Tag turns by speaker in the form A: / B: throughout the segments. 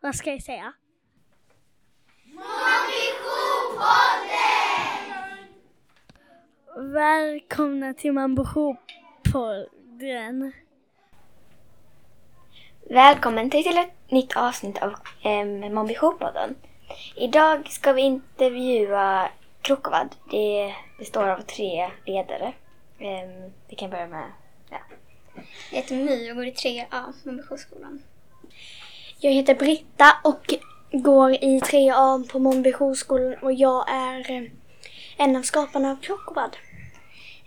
A: Vad ska jag säga? Välkomna till Mamboho-podden.
B: Välkommen till ett nytt avsnitt av eh, Mobbihopodden. Idag ska vi intervjua Krokovad. Det består av tre ledare. Ehm, vi kan börja med... Ja.
C: Jag heter My och går i 3A Mombijoskolan. Jag heter Britta och går i 3A på Mombijoskolan och jag
B: eh,
C: är en av skaparna av Krockovad.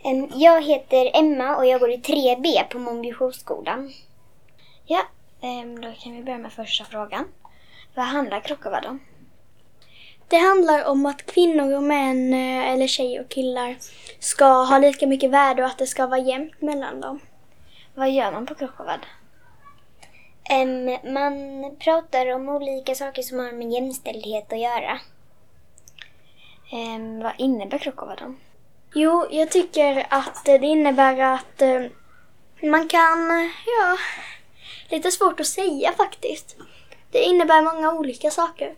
D: Ehm, Jag heter Emma och jag går i 3B på Mombjuskolan.
B: ja ehm, då kan vi börja med första frågan. Vad handlar Krokovad om?
C: Det handlar om att kvinnor och män, eh, eller tjejer och killar, ska ha lika mycket värde och att det ska vara jämnt mellan dem.
B: Vad gör man på Krokovad?
D: Em, man pratar om olika saker som har med jämställdhet att göra.
B: Ehm, vad innebär Krokovad? om?
C: Jo, jag tycker att eh, det innebär att eh, man kan, eh, ja, lite svårt att säga faktiskt. Det innebär många olika saker.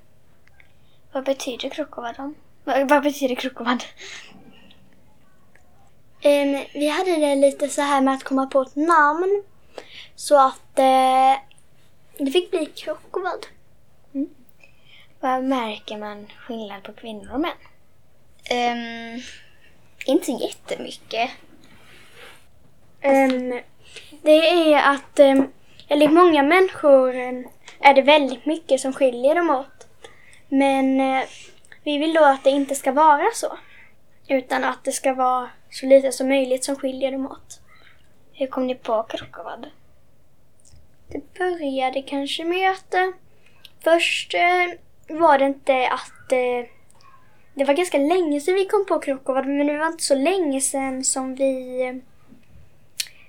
B: Vad betyder Krokovad? om? Vad, vad betyder Krokovad?
C: Ehm, vi hade det lite så här med att komma på ett namn. Så att eh, det fick bli Krockovad.
B: Vad märker man skillnad på kvinnor och män?
D: Ehm, Inte jättemycket.
C: Ehm, det är att ehm, enligt många människor ehm, är det väldigt mycket som skiljer dem åt. Men eh, vi vill då att det inte ska vara så. Utan att det ska vara så lite som möjligt som skiljer dem åt.
B: Hur kom ni på Krokovad?
C: Det började kanske med att eh, först eh, var det inte att eh, det var ganska länge sedan vi kom på Krokovat men det var inte så länge sedan som vi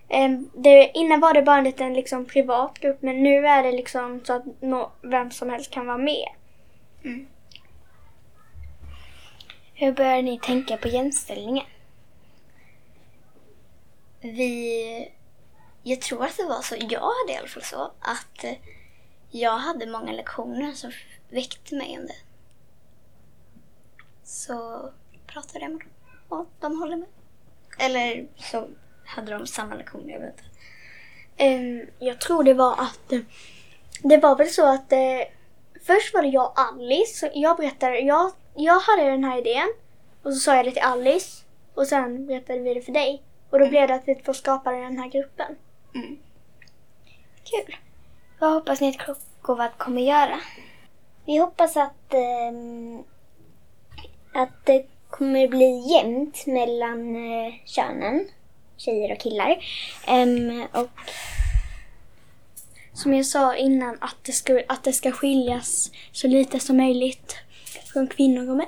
C: eh, eh, det, innan var det bara en liten liksom, privat grupp men nu är det liksom så att nå, vem som helst kan vara med.
D: Mm.
B: Hur började ni tänka på jämställningen?
D: Vi... Jag tror att det var så, jag hade i alla fall så, att eh, jag hade många lektioner som väckte mig om det. Så pratade jag med dem och de håller med. Eller så hade de samma lektioner, jag vet inte.
C: Ehm, jag tror det var att eh, det var väl så att eh, först var det jag och Alice. Så jag berättade, jag, jag hade den här idén och så sa jag det till Alice och sen berättade vi det för dig. Och då blev det att vi två skapade den här gruppen.
B: Kul! Vad hoppas ni att Krokovad kommer göra?
D: Vi hoppas att, ehm, att det kommer bli jämnt mellan eh, könen, tjejer och killar. Ehm, och
C: Som jag sa innan att det ska, att det ska skiljas så lite som möjligt från kvinnor och män.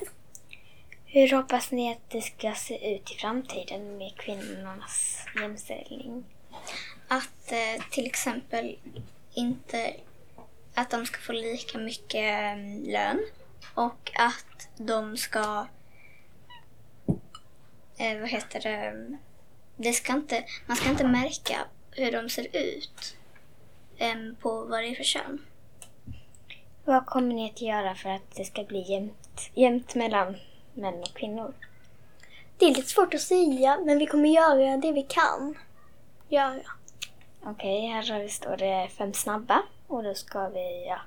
B: Hur hoppas ni att det ska se ut i framtiden med kvinnornas jämställning?
D: att eh, till exempel inte att de ska få lika mycket eh, lön och att de ska eh, vad heter det? det ska inte, man ska inte märka hur de ser ut eh, på vad det är för kön.
B: Vad kommer ni att göra för att det ska bli jämnt, jämnt mellan män och kvinnor?
C: Det är lite svårt att säga men vi kommer göra det vi kan göra.
B: Okej, här står det fem snabba och då ska vi, ja,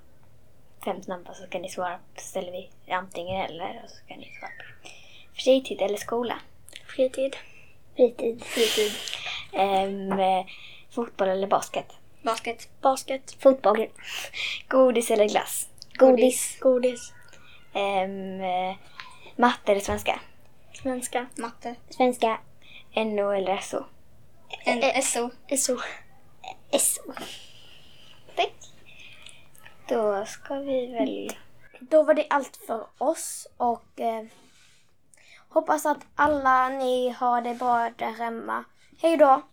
B: fem snabba så ska ni svara, på- ställer vi antingen eller och så ska ni svara på fritid eller skola.
C: Fritid.
D: Fritid.
B: Fritid. Ehm, eh, fotboll eller basket?
D: Basket.
C: Basket.
D: Fotboll.
B: Godis eller glass?
D: Godis.
C: Godis.
B: Ehm, eh, matte eller svenska?
C: Svenska.
D: Matte.
B: Svenska. NO eller SO?
E: Eh,
D: En, SO.
C: SO.
D: SO.
B: Då ska vi väl...
E: Då var det allt för oss och eh, hoppas att alla ni har det bra där hemma. Hej då!